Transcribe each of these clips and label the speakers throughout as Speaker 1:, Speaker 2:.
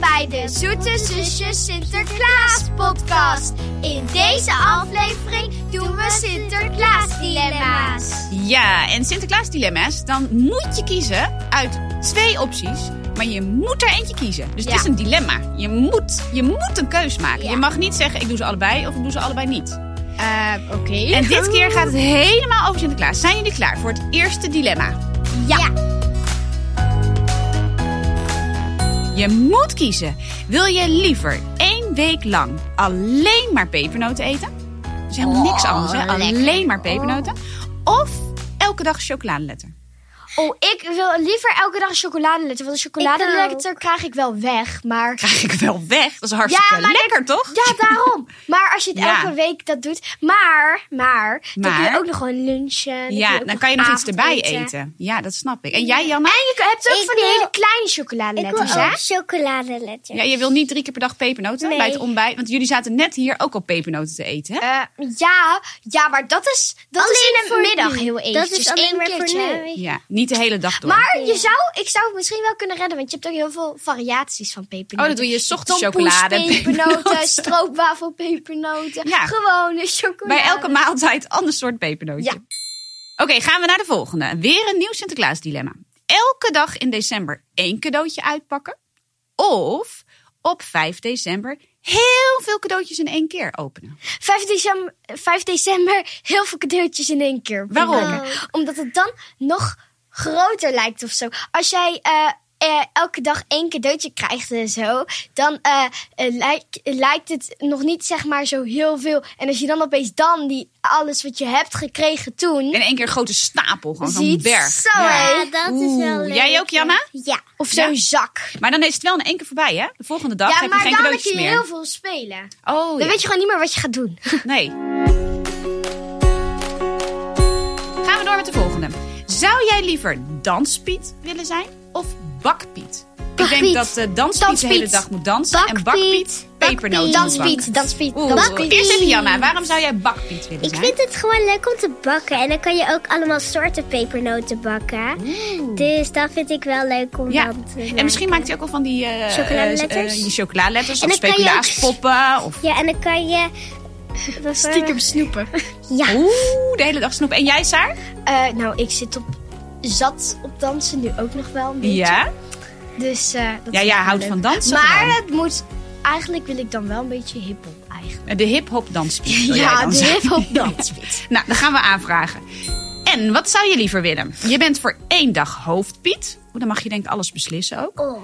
Speaker 1: bij de Zoete Zusjes Sinterklaas podcast. In deze aflevering doen we Sinterklaas dilemma's.
Speaker 2: Ja, en Sinterklaas dilemma's, dan moet je kiezen uit twee opties. Maar je moet er eentje kiezen. Dus
Speaker 1: Ja.
Speaker 2: het is een dilemma. Je moet, je moet een keus maken.
Speaker 1: Ja.
Speaker 2: Je mag niet zeggen ik doe ze allebei of ik doe ze allebei niet.
Speaker 1: Eh, Oké.
Speaker 2: En dit keer gaat het helemaal over Sinterklaas. Zijn jullie klaar voor het eerste dilemma?
Speaker 1: Ja.
Speaker 2: Je moet kiezen. Wil je liever één week lang alleen maar pepernoten eten? Dus helemaal niks
Speaker 1: Oh,
Speaker 2: anders, hè?
Speaker 1: lekker. Oh.
Speaker 2: Alleen maar pepernoten. Of elke dag chocoladeletter?
Speaker 3: Oh, ik wil liever elke dag chocoladeletter. Want de
Speaker 1: Ik
Speaker 3: chocoladeletter krijg ik wel weg. Maar
Speaker 2: Krijg ik wel weg. Dat is hartstikke
Speaker 3: Ja, maar
Speaker 2: lekker, toch?
Speaker 3: ja, daarom. Maar als je het
Speaker 2: Ja.
Speaker 3: elke week dat doet. Maar, maar, dan kun
Speaker 2: Maar?
Speaker 3: je ook nog gewoon lunchen.
Speaker 2: Ja,
Speaker 3: ook
Speaker 2: dan kan je nog iets erbij
Speaker 3: avondeten.
Speaker 2: eten. Ja, dat snap ik. En jij, Janna?
Speaker 3: En je hebt ook
Speaker 1: Ik
Speaker 3: van die
Speaker 1: wil-
Speaker 3: hele kleine
Speaker 1: Ik wil
Speaker 3: chocoladeletters, hè?
Speaker 1: ook chocoladeletters.
Speaker 2: Ja, je wil niet drie keer per dag pepernoten
Speaker 3: Nee.
Speaker 2: bij het ontbijt. Want jullie zaten net hier ook al pepernoten te eten, hè?
Speaker 3: Eh, ja, ja, maar dat is, dat is in de middag heel eventjes.
Speaker 1: Dat is alleen
Speaker 3: één
Speaker 1: maar
Speaker 3: keertje.
Speaker 1: voor nu.
Speaker 2: Ja, niet de hele dag door.
Speaker 3: Maar je zou, ik zou het misschien wel kunnen redden, want je hebt ook heel veel variaties van pepernoten.
Speaker 2: Oh, dat doe je 's ochtends
Speaker 3: Tompoes,
Speaker 2: chocolade, pepernoten.
Speaker 3: pepernoten, stroopwafel, pepernoten,
Speaker 2: Ja.
Speaker 3: gewone chocolade.
Speaker 2: bij elke maaltijd ander soort pepernootje.
Speaker 3: Ja.
Speaker 2: Oké, gaan we naar de volgende. Weer een nieuw Sinterklaas dilemma. Elke dag in december één cadeautje uitpakken. Of op 5 december heel veel cadeautjes in één keer openen.
Speaker 3: 5 december, 5 december heel veel cadeautjes in één keer.
Speaker 2: Waarom?
Speaker 3: maken. Omdat het dan nog groter lijkt of zo. Als jij eh, eh, elke dag één cadeautje krijgt en zo, dan eh, eh, lijkt- lijkt het nog niet zeg maar zo heel veel. En als je dan opeens dan die, alles wat je hebt gekregen toen
Speaker 2: In één keer een grote stapel, gewoon zo'n
Speaker 3: ziet,
Speaker 2: berg.
Speaker 3: zo
Speaker 2: Ja.
Speaker 3: hè.
Speaker 1: dat
Speaker 2: Oeh, jij ook, Janna?
Speaker 1: Ja.
Speaker 3: Of zo'n
Speaker 2: Ja.
Speaker 3: zak.
Speaker 2: Maar dan is het wel in één keer voorbij, hè? De volgende dag heb je geen
Speaker 3: dan
Speaker 2: cadeautjes
Speaker 3: je
Speaker 2: meer.
Speaker 3: heel veel spelen.
Speaker 2: Oh,
Speaker 3: Dan
Speaker 2: ja.
Speaker 3: weet je gewoon niet meer wat je gaat doen.
Speaker 2: Nee. Gaan we door met de volgende. Zou jij liever danspiet willen zijn of bakpiet? Ik denk
Speaker 1: Bakpiet.
Speaker 2: dat eh danspiet de
Speaker 3: Danspiet.
Speaker 2: hele dag moet dansen en bakpiet
Speaker 1: Bakpiet.
Speaker 2: pepernoten
Speaker 1: Bakpiet.
Speaker 2: moet
Speaker 3: Danspiet,
Speaker 2: bakken.
Speaker 3: danspiet,
Speaker 2: Oeh,
Speaker 3: danspiet.
Speaker 2: Eerst even Janna, waarom zou jij bakpiet willen
Speaker 1: Ik
Speaker 2: zijn?
Speaker 1: vind het gewoon leuk om te bakken. En dan kan je ook allemaal soorten pepernoten bakken. Dus dat vind ik wel leuk om
Speaker 2: ja,
Speaker 1: dan te
Speaker 3: eh,
Speaker 1: maken.
Speaker 2: en misschien maakt hij ook wel van die eh,
Speaker 1: Chocoladeletters?
Speaker 2: eh, die chocoladeletters
Speaker 1: En
Speaker 2: of
Speaker 1: dan kan je ook-
Speaker 2: speculaaspoppen. Of...
Speaker 1: Ja, en dan kan je... bijvoorbeeld-
Speaker 3: snoepen.
Speaker 1: Ja.
Speaker 2: Oeh, de hele dag snoep. En jij, Saar?
Speaker 3: Eh, nou, ik zit op zat op dansen nu ook nog wel een beetje.
Speaker 2: Ja?
Speaker 3: Dus eh, dat
Speaker 2: Ja,
Speaker 3: is
Speaker 2: jij
Speaker 3: wel
Speaker 2: houdt
Speaker 3: leuk.
Speaker 2: van dansen
Speaker 3: Maar
Speaker 2: gewoon.
Speaker 3: het moet... Eigenlijk wil ik dan wel een beetje hiphop eigenlijk.
Speaker 2: Eh, De hip-hop danspiet. wil jij
Speaker 3: Ja,
Speaker 2: dan
Speaker 3: de
Speaker 2: zijn.
Speaker 3: Ah, dus hiphop danspiet.
Speaker 2: Nou, dan gaan we aanvragen. En wat zou je liever willen? Je bent voor één dag hoofdpiet. O, dan mag je denk ik alles beslissen ook.
Speaker 1: Oh.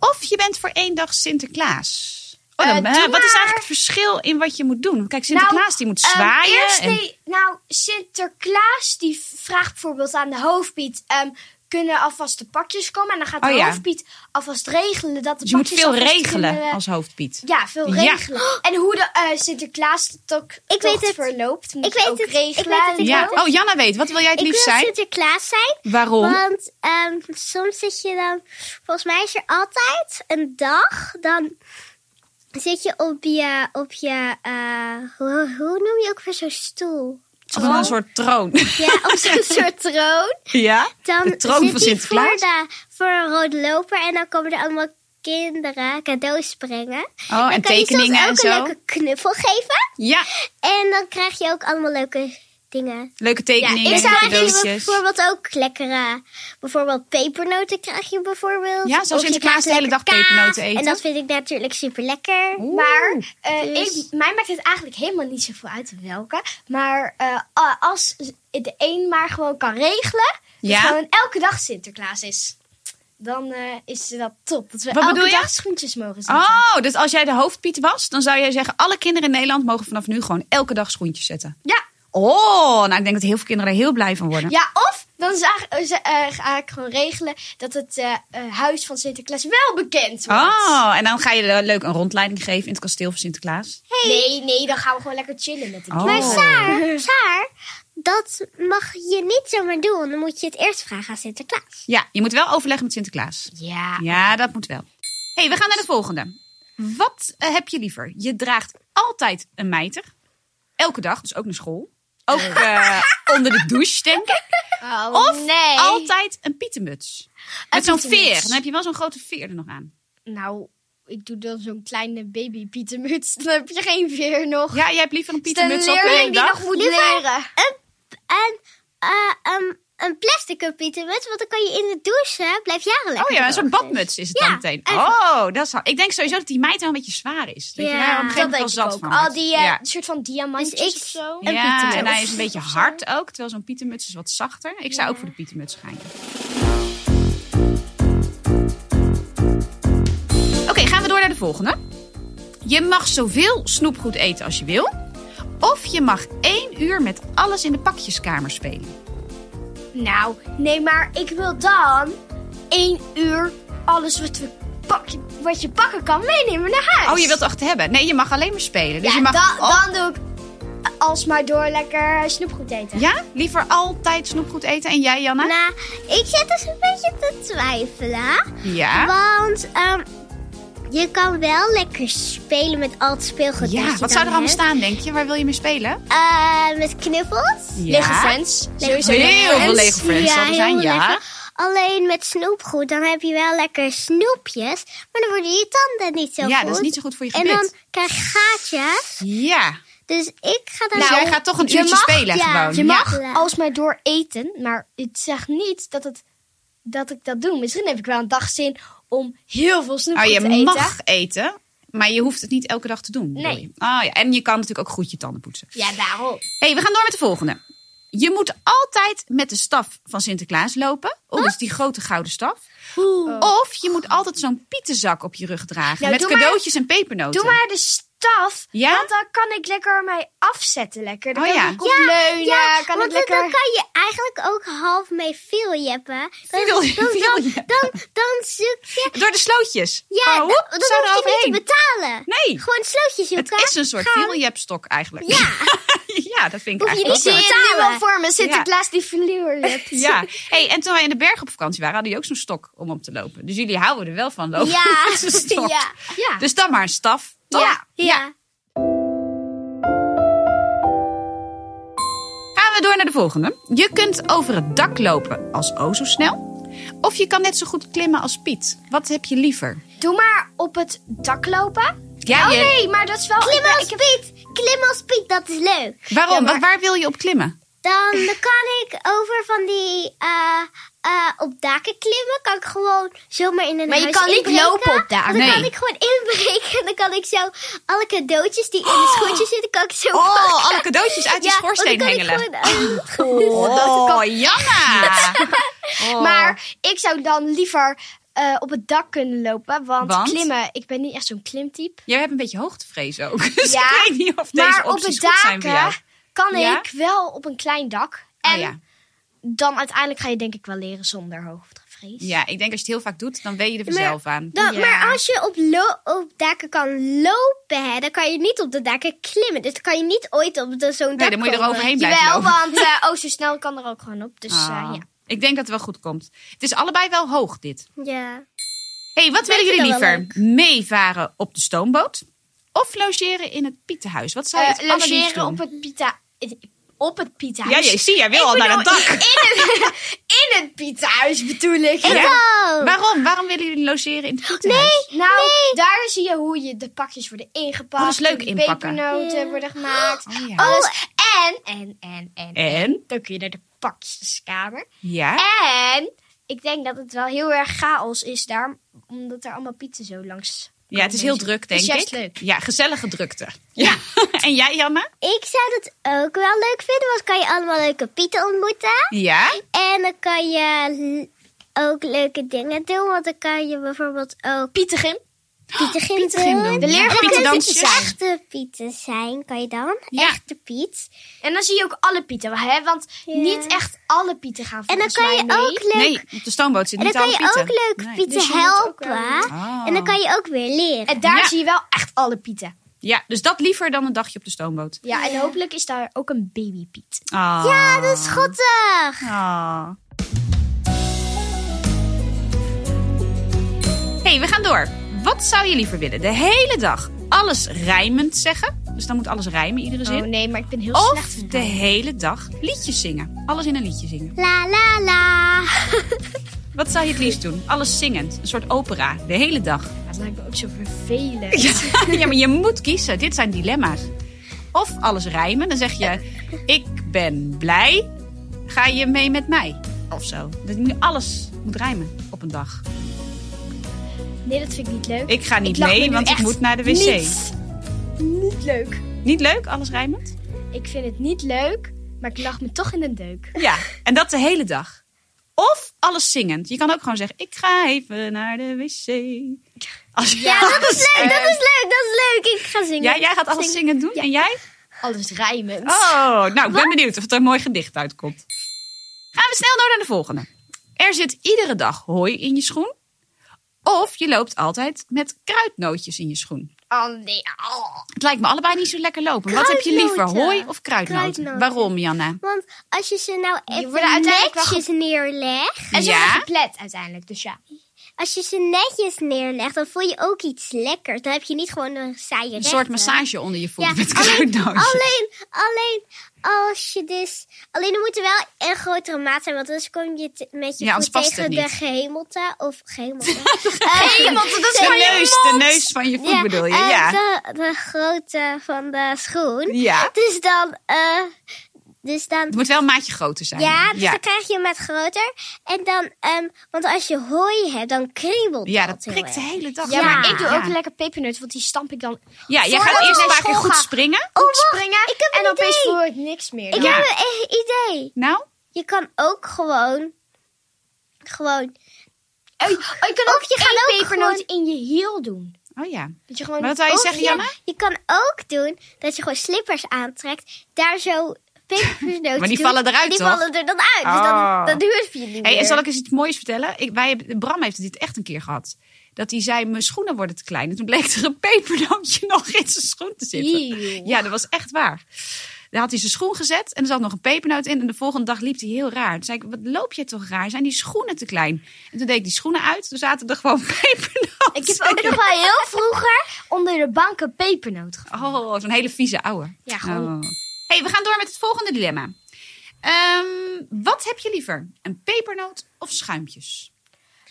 Speaker 2: Of je bent voor één dag Sinterklaas. Oh,
Speaker 3: Eh,
Speaker 2: dan,
Speaker 3: doe
Speaker 2: hè, wat is eigenlijk
Speaker 3: maar-
Speaker 2: het verschil in wat je moet doen? Kijk, Sinterklaas die moet
Speaker 3: ehm,
Speaker 2: zwaaien.
Speaker 3: eerst
Speaker 2: en-
Speaker 3: die- nou, Sinterklaas die vraagt bijvoorbeeld aan de hoofdpiet... ehm, kunnen alvast de pakjes komen? En dan gaat de
Speaker 2: Oh ja.
Speaker 3: hoofdpiet alvast regelen dat de
Speaker 2: dus je moet
Speaker 3: pakjes
Speaker 2: veel
Speaker 3: alvast
Speaker 2: regelen
Speaker 3: kunnen-
Speaker 2: als hoofdpiet.
Speaker 3: Ja, veel
Speaker 2: Ja.
Speaker 3: regelen. En hoe de eh, Sinterklaas toch
Speaker 1: Ik weet het.
Speaker 3: verloopt, moet
Speaker 1: Ik
Speaker 3: je
Speaker 1: weet
Speaker 3: ook
Speaker 1: het. Ik weet
Speaker 3: regelen.
Speaker 1: het. Ik
Speaker 2: Ja.
Speaker 1: wil-
Speaker 2: Oh, Janna weet. Wat wil jij het
Speaker 1: Ik wil
Speaker 2: liefst zijn?
Speaker 1: Sinterklaas zijn.
Speaker 2: Waarom?
Speaker 1: Want ehm, soms zit je dan... Volgens mij is er altijd een dag... Dan zit je op je... Op je eh, hoe, hoe noem je ook weer zo'n stoel?
Speaker 2: Of een soort troon. Oh,
Speaker 1: Ja, op zo'n soort troon.
Speaker 2: ja?
Speaker 1: Dan
Speaker 2: de troon
Speaker 1: zit
Speaker 2: van
Speaker 1: hij
Speaker 2: Sinterklaas?
Speaker 1: Voor, de, voor een rode loper. En dan komen er allemaal kinderen cadeaus brengen.
Speaker 2: Oh, en
Speaker 1: dan kan je
Speaker 2: tekeningen
Speaker 1: soms
Speaker 2: en
Speaker 1: ook een
Speaker 2: zo.
Speaker 1: leuke knuffel geven.
Speaker 2: Ja,
Speaker 1: En dan krijg je ook allemaal leuke dingen.
Speaker 2: leuke
Speaker 1: En
Speaker 2: tekeningen,
Speaker 1: dan krijg je
Speaker 2: cadeautjes.
Speaker 1: bijvoorbeeld ook lekkere... Bijvoorbeeld pepernoten krijg je bijvoorbeeld.
Speaker 2: Ja, zou
Speaker 1: Of je
Speaker 2: Sinterklaas
Speaker 1: krijgt
Speaker 2: de hele
Speaker 1: lekker
Speaker 2: dag
Speaker 1: kaas.
Speaker 2: pepernoten eten?
Speaker 1: En dat vind ik natuurlijk super lekker.
Speaker 2: Oeh.
Speaker 3: Maar eh,
Speaker 1: Dus-
Speaker 3: ik, mij maakt het eigenlijk helemaal niet zoveel uit welke. Maar eh, a- als de een maar gewoon kan regelen, dat
Speaker 2: Ja.
Speaker 3: gewoon elke dag Sinterklaas is. Dan eh, is dat top. Dat we
Speaker 2: Wat
Speaker 3: elke
Speaker 2: bedoel je?
Speaker 3: dag schoentjes mogen zetten.
Speaker 2: Oh, dus als jij de hoofdpiet was, dan zou jij zeggen: alle kinderen in Nederland mogen vanaf nu gewoon elke dag schoentjes zetten.
Speaker 3: Ja.
Speaker 2: Oh, nou ik denk dat heel veel kinderen er heel blij van worden.
Speaker 3: ja, of dan zag, eh, ze- eh, ga ik gewoon regelen dat het eh, eh, huis van Sinterklaas wel bekend wordt.
Speaker 2: Oh, en dan ga je er leuk een rondleiding geven in het kasteel van Sinterklaas.
Speaker 3: Nee, nee, dan gaan we gewoon lekker chillen met de
Speaker 2: Oh.
Speaker 1: Maar Saar, Saar, dat mag je niet zomaar doen. Dan moet je het eerst vragen aan Sinterklaas.
Speaker 2: Ja, je moet wel overleggen met Sinterklaas.
Speaker 3: Ja.
Speaker 2: Ja, dat moet wel. hey, we gaan naar de volgende. Wat eh, heb je liever? Je draagt altijd een mijter. Elke dag, dus ook naar school. Ook eh, onder de douche, denk ik.
Speaker 3: Oh,
Speaker 2: Of
Speaker 3: nee.
Speaker 2: altijd een pietenmuts. Met zo'n
Speaker 3: pietenmuts.
Speaker 2: veer. Dan heb je wel zo'n grote veer er nog aan.
Speaker 3: Nou, ik doe dan zo'n kleine baby pietermuts. Dan heb je geen veer nog.
Speaker 2: Ja, jij hebt liever een
Speaker 3: Het is
Speaker 2: pietermuts
Speaker 3: de
Speaker 2: op
Speaker 3: leerling
Speaker 2: een
Speaker 3: die
Speaker 2: dag.
Speaker 3: nog moet
Speaker 1: Liever-
Speaker 3: leren. Ah.
Speaker 1: En eh, um, een plastic pietermuts, want dan kan je in de douche, hè, blijf jaren lekker
Speaker 2: Oh ja,
Speaker 1: droog.
Speaker 2: zo'n badmuts is het
Speaker 1: Ja,
Speaker 2: dan meteen.
Speaker 1: en-
Speaker 2: Oh, dat is ha- Ik denk sowieso dat die meid wel een beetje zwaar is. Dat je
Speaker 1: Ja.
Speaker 2: daar op een gegeven
Speaker 3: Dat
Speaker 2: moment wel zat
Speaker 3: denk ik ook.
Speaker 2: van
Speaker 3: Al
Speaker 2: wordt.
Speaker 3: die eh,
Speaker 2: ja.
Speaker 3: soort van diamantjes
Speaker 1: Dus ik-
Speaker 3: of zo.
Speaker 1: een
Speaker 2: Ja,
Speaker 1: pietermuts.
Speaker 2: en hij is een beetje
Speaker 3: Of zo.
Speaker 2: hard ook, terwijl zo'n pietermuts is wat zachter. Ik zou ook voor de pietermuts gaan. ja. Oké, gaan we door naar de volgende. Je mag zoveel snoepgoed eten als je wil. Of je mag één uur met alles in de pakjeskamer spelen.
Speaker 3: Nou, nee, maar ik wil dan één uur alles wat, we pak, wat je pakken kan meenemen naar huis.
Speaker 2: Oh,
Speaker 1: dus-
Speaker 2: je wilt achter hebben? Nee, je mag alleen maar spelen. Dus
Speaker 3: ja,
Speaker 2: je mag
Speaker 3: dan,
Speaker 2: al-
Speaker 3: dan doe ik alsmaar door lekker snoepgoed eten.
Speaker 2: Ja? Liever altijd snoepgoed eten. En jij, Janna?
Speaker 1: Nou, ik zit dus een beetje te twijfelen.
Speaker 2: Ja.
Speaker 1: Want ehm, je kan wel lekker spelen met al het speelgoed. dat
Speaker 2: Ja,
Speaker 1: je
Speaker 2: wat zou er
Speaker 1: dan
Speaker 2: allemaal
Speaker 1: hebt.
Speaker 2: staan, denk je? Waar wil je mee spelen?
Speaker 1: Eh, met knuffels.
Speaker 3: Lego Friends. Sowieso
Speaker 2: Heel veel Lego Friends
Speaker 1: Ja,
Speaker 2: zal er
Speaker 1: heel
Speaker 2: zijn, ja.
Speaker 1: lekker. Alleen met snoepgoed, dan heb je wel lekker snoepjes. Maar dan worden je tanden niet zo goed.
Speaker 2: Ja, dat is niet zo goed voor je
Speaker 1: En dan
Speaker 2: gebit.
Speaker 1: krijg je gaatjes.
Speaker 2: Ja.
Speaker 1: Dus ik ga dan...
Speaker 2: Dus jij gaat toch een
Speaker 3: je
Speaker 2: uurtje
Speaker 3: mag-
Speaker 2: spelen
Speaker 1: ja,
Speaker 2: gewoon.
Speaker 1: je
Speaker 3: Je
Speaker 2: Ja. Oh,
Speaker 3: mag
Speaker 1: Ja.
Speaker 3: alsmaar door eten, maar het zegt niet dat, het, dat ik dat doe. Misschien heb ik wel een dag zin om heel veel
Speaker 2: Oh,
Speaker 3: snoepgoed
Speaker 2: je
Speaker 3: te eten.
Speaker 2: mag eten, maar je hoeft het niet elke dag te doen. bedoel
Speaker 3: Nee.
Speaker 2: je? Oh, ja. En je kan natuurlijk ook goed je tanden poetsen.
Speaker 3: Ja, daarom.
Speaker 2: hey, we gaan door met de volgende. Je moet altijd met de staf van Sinterklaas lopen. Oh, dus die grote gouden staf. Oh. Of je moet altijd zo'n pietenzak op je rug dragen.
Speaker 3: Nou,
Speaker 2: met
Speaker 3: doe maar-
Speaker 2: cadeautjes en pepernoten.
Speaker 3: Doe maar de staf,
Speaker 2: Ja?
Speaker 3: want dan kan ik lekker mij afzetten lekker. Dan
Speaker 2: Oh,
Speaker 3: kan
Speaker 2: ja.
Speaker 3: ik op leunen,
Speaker 1: Ja,
Speaker 3: kan ik
Speaker 1: want
Speaker 3: lekker...
Speaker 1: dan kan je eigenlijk ook half mee filjeppen. Dan,
Speaker 2: Veel-
Speaker 1: dan,
Speaker 2: veel-
Speaker 1: dan, dan, dan zoek je...
Speaker 2: Door de slootjes.
Speaker 1: Ja,
Speaker 2: oh,
Speaker 1: dat
Speaker 2: hoep,
Speaker 1: dan
Speaker 2: zou er
Speaker 1: hoef je
Speaker 2: overheen.
Speaker 1: niet te betalen.
Speaker 2: Nee.
Speaker 1: Gewoon slootjes
Speaker 2: Het
Speaker 1: zoeken.
Speaker 2: is een soort
Speaker 1: gaan.
Speaker 2: viljepstok eigenlijk.
Speaker 1: Ja.
Speaker 2: ja, dat vind ik
Speaker 1: Hoef je
Speaker 2: eigenlijk
Speaker 1: niet
Speaker 2: ook
Speaker 1: te
Speaker 2: wel.
Speaker 1: zien.
Speaker 3: Zie je nu
Speaker 1: betalen.
Speaker 3: al voor me Sinterklaas die verleurlijkt.
Speaker 2: Ja, hey, en toen wij in de berg op vakantie waren, hadden die ook zo'n stok om op te lopen. Dus jullie houden er wel van lopen.
Speaker 1: Ja.
Speaker 2: met zo'n stok.
Speaker 1: Ja.
Speaker 3: Ja.
Speaker 2: Dus dan maar een staf. Toch?
Speaker 1: Ja, ja.
Speaker 2: Gaan we door naar de volgende. Je kunt over het dak lopen als o zo snel. Of je kan net zo goed klimmen als Piet. Wat heb je liever?
Speaker 3: Doe maar op het dak lopen.
Speaker 2: Ja,
Speaker 3: oh
Speaker 2: je-
Speaker 3: nee, maar dat is wel...
Speaker 1: Klim als
Speaker 3: ik heb-
Speaker 1: Piet. Klim als Piet, dat is leuk.
Speaker 2: Waarom?
Speaker 3: Ja, maar-
Speaker 2: Wat- Waar wil je op klimmen?
Speaker 1: Dan kan ik over van die... eh, eh, op daken klimmen kan ik gewoon zomaar in een
Speaker 3: Maar je
Speaker 1: huis
Speaker 3: kan niet
Speaker 1: inbreken.
Speaker 3: lopen op daken.
Speaker 1: Dan kan
Speaker 2: Nee.
Speaker 1: ik gewoon inbreken. En dan kan ik zo alle cadeautjes die in de schoentjes zitten, kan ik zo
Speaker 2: Oh,
Speaker 1: pakken.
Speaker 2: alle cadeautjes uit je
Speaker 1: Ja, want dan
Speaker 2: schoorsteen
Speaker 1: kan ik
Speaker 2: hengelen.
Speaker 1: gewoon, eh,
Speaker 2: Oh, Janna! Oh.
Speaker 3: Maar ik zou dan liever eh, op het dak kunnen lopen. Want,
Speaker 2: Want?
Speaker 3: klimmen, ik ben niet echt zo'n klimtype.
Speaker 2: Jij hebt een beetje hoogtevrees ook. Dus
Speaker 3: Ja,
Speaker 2: ik weet niet of deze
Speaker 3: maar op
Speaker 2: opties
Speaker 3: het
Speaker 2: goed zijn voor jou.
Speaker 3: daken kan
Speaker 2: Ja?
Speaker 3: ik wel op een klein dak. En
Speaker 2: Oh ja.
Speaker 3: dan uiteindelijk ga je denk ik wel leren zonder hoogtevrees.
Speaker 2: ja, ik denk als je het heel vaak doet, dan weet je er
Speaker 1: Maar-
Speaker 2: vanzelf aan.
Speaker 1: Dan, Oh,
Speaker 3: Ja.
Speaker 1: Maar als je op, lo- op daken kan lopen, hè, dan kan je niet op de daken klimmen. Dus dan kan je niet ooit op de- zo'n dak
Speaker 2: Nee, dan moet je er
Speaker 1: komen.
Speaker 2: overheen blijven
Speaker 3: Jawel,
Speaker 2: lopen.
Speaker 3: want eh oh, zo snel kan er ook gewoon op. Dus eh,
Speaker 2: Ah,
Speaker 3: ja.
Speaker 2: Ik denk dat het wel goed komt. Het is allebei wel hoog, dit.
Speaker 1: Ja.
Speaker 2: hey, wat
Speaker 1: Ik
Speaker 2: willen
Speaker 1: vind
Speaker 2: jullie
Speaker 1: het wel
Speaker 2: liever? Meevaren op de stoomboot? Of logeren in het Pietenhuis? Wat zou je
Speaker 3: Eh,
Speaker 2: het allerliefst
Speaker 3: logeren
Speaker 2: doen?
Speaker 3: op het Pita... Op het Pitahuis.
Speaker 2: Ja, je, zie, jij wil
Speaker 3: Ik
Speaker 2: al naar het
Speaker 3: bedoel,
Speaker 2: dak.
Speaker 3: In het, in het Pitahuis bedoel ik.
Speaker 1: Ik ook.
Speaker 2: Waarom? Waarom willen jullie logeren in het Pietenhuis?
Speaker 3: Nou, daar zie je hoe je de pakjes worden ingepakt.
Speaker 2: Oh, dat is leuk
Speaker 3: hoe de
Speaker 2: inpakken.
Speaker 3: pepernoten worden gemaakt.
Speaker 2: Oh, ja.
Speaker 3: Alles. En, en, en, en,
Speaker 2: En?
Speaker 3: Dan kun je naar de pakjeskamer.
Speaker 2: Ja?
Speaker 3: En ik denk dat het wel heel erg chaos is daar. Omdat er allemaal pieten zo langs
Speaker 2: Ja, het is heel druk, denk
Speaker 3: is
Speaker 2: ik.
Speaker 3: juist leuk.
Speaker 2: Ja, gezellige drukte. Ja. en jij, Janne?
Speaker 1: Ik zou dat ook wel leuk vinden, want dan kan je allemaal leuke pieten ontmoeten.
Speaker 2: Ja?
Speaker 1: En dan kan je l- ook leuke dingen doen, want dan kan je bijvoorbeeld ook
Speaker 3: Pietegrim.
Speaker 1: pieten gaan
Speaker 2: Pietergym
Speaker 1: doen.
Speaker 2: Oh, doen.
Speaker 3: De
Speaker 2: Ja,
Speaker 3: leerkracht-
Speaker 1: En dan kun je
Speaker 2: pietendansjes.
Speaker 1: echte pieten zijn, kan je dan.
Speaker 2: Ja.
Speaker 1: Echte piet.
Speaker 3: En dan zie je ook alle pieten. Hè? Want
Speaker 1: Ja.
Speaker 3: niet echt alle pieten gaan
Speaker 1: En dan
Speaker 3: volgens
Speaker 1: kan je
Speaker 3: mij mee.
Speaker 1: ook leuk...
Speaker 2: Nee, op de stoomboot zit
Speaker 1: En dan
Speaker 2: niet
Speaker 1: kan
Speaker 2: alle
Speaker 1: je
Speaker 2: pieten.
Speaker 1: ook leuk
Speaker 2: Nee.
Speaker 1: pieten
Speaker 3: Dus je moet ook wel
Speaker 1: helpen.
Speaker 2: Ah.
Speaker 1: En dan kan je ook weer leren.
Speaker 3: En daar
Speaker 2: Ja.
Speaker 3: zie je wel echt alle pieten.
Speaker 2: Ja, dus dat liever dan een dagje op de stoomboot.
Speaker 3: Ja, en
Speaker 1: Ja.
Speaker 3: hopelijk is daar ook een babypiet.
Speaker 2: Ah.
Speaker 1: Ja, dat is schattig.
Speaker 2: Ah. hey, we gaan door. Wat zou je liever willen? De hele dag alles rijmend zeggen. Dus dan moet alles rijmen, iedere
Speaker 3: Oh
Speaker 2: zin.
Speaker 3: nee, maar ik ben heel
Speaker 2: of
Speaker 3: slecht. in
Speaker 2: de hele dag liedjes zingen. Alles in een liedje zingen.
Speaker 1: La la la.
Speaker 2: Wat zou je het liefst doen? Alles zingend, een soort opera, de hele dag.
Speaker 3: Dat lijkt me ook zo vervelend.
Speaker 2: Ja, maar je moet kiezen. Dit zijn dilemma's. Of alles rijmen. Dan zeg je, ik ben blij. Ga je mee met mij? Of zo. Dat nu alles moet rijmen op een dag.
Speaker 3: Nee, dat vind ik niet leuk.
Speaker 2: Ik ga niet
Speaker 3: lach me
Speaker 2: mee,
Speaker 3: nu
Speaker 2: want ik
Speaker 3: echt
Speaker 2: moet naar de wc.
Speaker 3: Niet, niet leuk.
Speaker 2: Niet leuk, alles rijmend?
Speaker 3: Ik vind het niet leuk, maar ik lach me toch in de deuk.
Speaker 2: Ja, en dat de hele dag. Of alles zingend. Je kan ook gewoon zeggen, ik ga even naar de wc. Als je
Speaker 1: Ja, dat is leuk, dat is leuk, dat is leuk. Ik ga zingen.
Speaker 2: Ja, jij gaat alles zingend doen? En jij?
Speaker 3: Alles rijmend.
Speaker 2: Oh, nou, ik ben benieuwd of er een mooi gedicht uitkomt. Gaan we snel door naar de volgende. Er zit iedere dag hooi in je schoen. Of je loopt altijd met kruidnootjes in je schoen.
Speaker 3: Oh, nee. Oh.
Speaker 2: Het lijkt me allebei niet zo lekker lopen. Wat heb je liever,
Speaker 1: Kruidnoten.
Speaker 2: hooi of kruidnoten?
Speaker 1: Kruidnoten.
Speaker 2: Waarom, Janna?
Speaker 1: Want als je ze nou even
Speaker 3: worden uiteindelijk wel
Speaker 1: netjes neerlegt,
Speaker 3: En ze
Speaker 2: Ja?
Speaker 3: worden geplet uiteindelijk, dus ja.
Speaker 1: als je ze netjes neerlegt, dan voel je ook iets lekkers. Dan heb je niet gewoon een saaie
Speaker 2: Een soort massage onder je voeten met kruidnootjes.
Speaker 1: alleen, alleen als je dus... Alleen er moet er wel een grotere maat zijn, want anders kom je te- met je
Speaker 2: Ja,
Speaker 1: voet
Speaker 2: anders past
Speaker 1: tegen
Speaker 2: het
Speaker 1: de
Speaker 2: niet.
Speaker 1: gehemelte of gehemelte.
Speaker 3: Gehemelte, dat is
Speaker 2: De
Speaker 3: van je
Speaker 2: neus, de neus van je voet bedoel je,
Speaker 1: eh,
Speaker 2: ja.
Speaker 1: De, de grootte van de schoen.
Speaker 2: Ja.
Speaker 1: Dus dan, eh, dus
Speaker 2: Het
Speaker 1: dan
Speaker 2: moet wel een maatje groter zijn.
Speaker 1: Ja, dus dan krijg je hem met groter. En dan, ehm, want als je hooi hebt, dan kriebelt
Speaker 2: Ja, dat
Speaker 1: heel
Speaker 2: prikt de
Speaker 1: erg.
Speaker 2: hele dag.
Speaker 3: Ja, Oh, maar ik doe ook
Speaker 2: Ja.
Speaker 3: lekker pepernut, want die stamp ik dan
Speaker 2: Ja, jij
Speaker 3: Voordat
Speaker 2: gaat eerst
Speaker 3: ik
Speaker 2: een
Speaker 3: naar
Speaker 2: paar keer
Speaker 3: school
Speaker 2: goed
Speaker 3: ga.
Speaker 2: springen.
Speaker 1: Oh,
Speaker 3: goed
Speaker 1: wacht,
Speaker 3: springen.
Speaker 1: ik heb een
Speaker 3: en opeens
Speaker 1: idee.
Speaker 3: voel ik niks meer.
Speaker 1: Ik
Speaker 3: dan.
Speaker 2: Ja.
Speaker 1: heb een e- idee.
Speaker 2: Nou,
Speaker 1: Je kan ook gewoon, gewoon,
Speaker 3: Oh, je- oh, je kan
Speaker 1: Of
Speaker 3: ook
Speaker 1: je
Speaker 3: je
Speaker 1: gaat ook
Speaker 3: pepernoot in je hiel doen.
Speaker 2: oh ja.
Speaker 3: Dat je gewoon
Speaker 2: Maar wat wou je
Speaker 1: Of
Speaker 2: zeggen,
Speaker 1: je-
Speaker 2: Janna?
Speaker 1: je kan ook doen dat je gewoon slippers aantrekt, daar zo pepernoten
Speaker 2: Maar die
Speaker 1: doet,
Speaker 2: vallen eruit,
Speaker 1: en die
Speaker 2: toch?
Speaker 1: vallen er dan uit. Dus
Speaker 2: Oh.
Speaker 1: dan, dan durf je niet
Speaker 2: Hey, en
Speaker 1: meer.
Speaker 2: zal ik eens iets moois vertellen? Ik, wij, hebben- Bram heeft dit echt een keer gehad. Dat hij zei, mijn schoenen worden te klein. En toen bleek er een pepernootje nog in zijn schoen te zitten.
Speaker 3: Eeuw.
Speaker 2: Ja, dat was echt waar. Daar had hij zijn schoen gezet en er zat nog een pepernoot in. En de volgende dag liep hij heel raar. Toen zei ik, wat loop je toch raar? Zijn die schoenen te klein? En toen deed ik die schoenen uit. Toen zaten er gewoon pepernoten.
Speaker 3: Ik heb ook nog wel heel vroeger onder de bank een pepernoot gevonden.
Speaker 2: Oh, zo'n hele vieze ouwe.
Speaker 3: Ja, gewoon.
Speaker 2: Oh. hey, we gaan door met het volgende dilemma. Ehm, wat heb je liever? Een pepernoot of schuimpjes?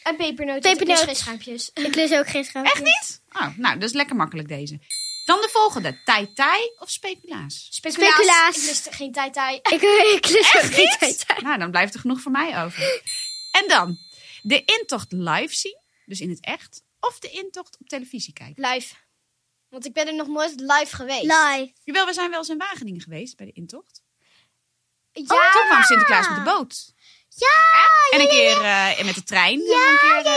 Speaker 3: Een pepernoot,
Speaker 1: Pepernoot.
Speaker 3: pepernoot. geen schuimpjes.
Speaker 1: Ik lust ook geen schaamte.
Speaker 2: Echt niet? Oh, nou, dat is lekker makkelijk deze. Dan de volgende. Tai tai of speculaas?
Speaker 3: Speculaas.
Speaker 1: Speculaas.
Speaker 3: Ik lust geen tai-tai.
Speaker 1: Ik, ik lust ook geen tijd.
Speaker 2: Nou, dan blijft er genoeg voor mij over. En dan de intocht live zien, dus in het echt, of de intocht op televisie kijken.
Speaker 3: Live. Want ik ben er nog nooit live geweest.
Speaker 1: Lie.
Speaker 2: Jawel, we zijn wel eens in Wageningen geweest bij de intocht.
Speaker 3: Ja.
Speaker 2: Oh, toen kwam Sinterklaas met de boot.
Speaker 1: Ja,
Speaker 2: En een keer eh, met de trein.
Speaker 1: ja,
Speaker 2: En een keer,
Speaker 1: ja,
Speaker 2: eh,
Speaker 1: ja,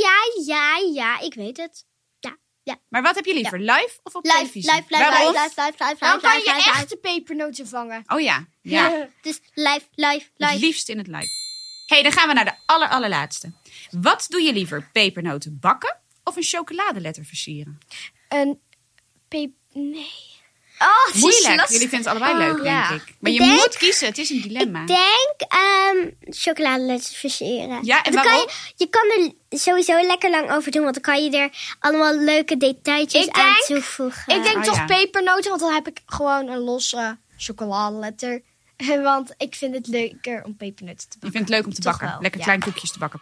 Speaker 1: ja, ja, ja, ja, ik weet het. Ja, ja.
Speaker 2: Maar wat heb je liever, live of op
Speaker 1: Live,
Speaker 2: televisie?
Speaker 1: live, live, live,
Speaker 2: Waarom?
Speaker 1: live, live, live,
Speaker 3: Dan
Speaker 1: live,
Speaker 3: kan
Speaker 1: live,
Speaker 3: je
Speaker 1: live,
Speaker 3: echt
Speaker 1: live.
Speaker 3: de pepernoten vangen.
Speaker 2: Oh ja, ja.
Speaker 1: Dus live, live,
Speaker 2: Het
Speaker 1: live.
Speaker 2: liefst in het live. hey, dan gaan we naar de aller, allerlaatste. Wat doe je liever, pepernoten bakken of een chocoladeletter versieren?
Speaker 3: Een pep... Nee. Oh,
Speaker 2: Moeilijk. Jullie vinden het allebei leuk, denk
Speaker 3: ja.
Speaker 2: ik. Maar je
Speaker 1: Ik denk-
Speaker 2: moet kiezen. Het is een dilemma.
Speaker 1: Ik denk ehm chocoladeletters versieren.
Speaker 2: Ja, en
Speaker 1: dan kan
Speaker 2: waarom?
Speaker 1: je, je kan er sowieso lekker lang over doen, want dan kan je er allemaal leuke detailtjes
Speaker 3: Ik
Speaker 1: aan
Speaker 3: denk-
Speaker 1: toevoegen.
Speaker 3: Ik denk
Speaker 2: Oh,
Speaker 3: toch
Speaker 2: ja.
Speaker 3: pepernoten, want dan heb ik gewoon een losse chocoladeletter. Want ik vind het leuker om pepernoten te
Speaker 2: Je
Speaker 3: bakken.
Speaker 2: vindt het leuk om te
Speaker 3: Toch
Speaker 2: bakken.
Speaker 3: wel,
Speaker 2: Lekker
Speaker 3: ja.
Speaker 2: klein koekjes te bakken.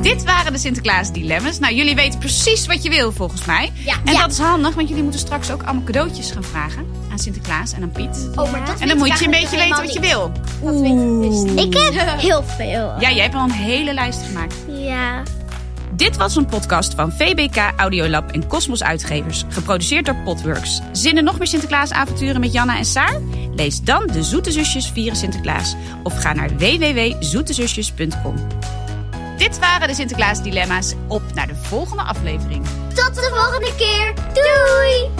Speaker 2: Dit waren de Sinterklaas dilemma's. Nou, jullie weten precies wat je wil volgens mij.
Speaker 3: Ja.
Speaker 2: en
Speaker 3: Ja.
Speaker 2: dat is handig, want jullie moeten straks ook allemaal cadeautjes gaan vragen aan Sinterklaas en aan Piet.
Speaker 3: Oh, maar dat
Speaker 2: En dan moet je een beetje weten wat je wil.
Speaker 3: Dat weet ik dus niet.
Speaker 1: Ik heb heel veel.
Speaker 2: Ja, jij hebt al een hele lijst gemaakt.
Speaker 1: Ja.
Speaker 2: Dit was een podcast van VBK Audiolab en Cosmos Uitgevers, geproduceerd door Potworks. Zin in nog meer Sinterklaasavonturen met Janna en Saar? Lees dan De Zoete Zusjes vieren Sinterklaas of ga naar www.zoetezusjes.com. Dit waren de Sinterklaas dilemma's. Op naar de volgende aflevering.
Speaker 1: Tot de volgende keer. Doei!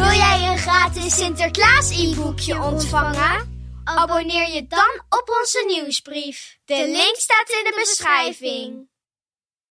Speaker 1: Wil jij een gratis Sinterklaas e-boekje ontvangen? Abonneer je dan op onze nieuwsbrief. De link staat in de beschrijving.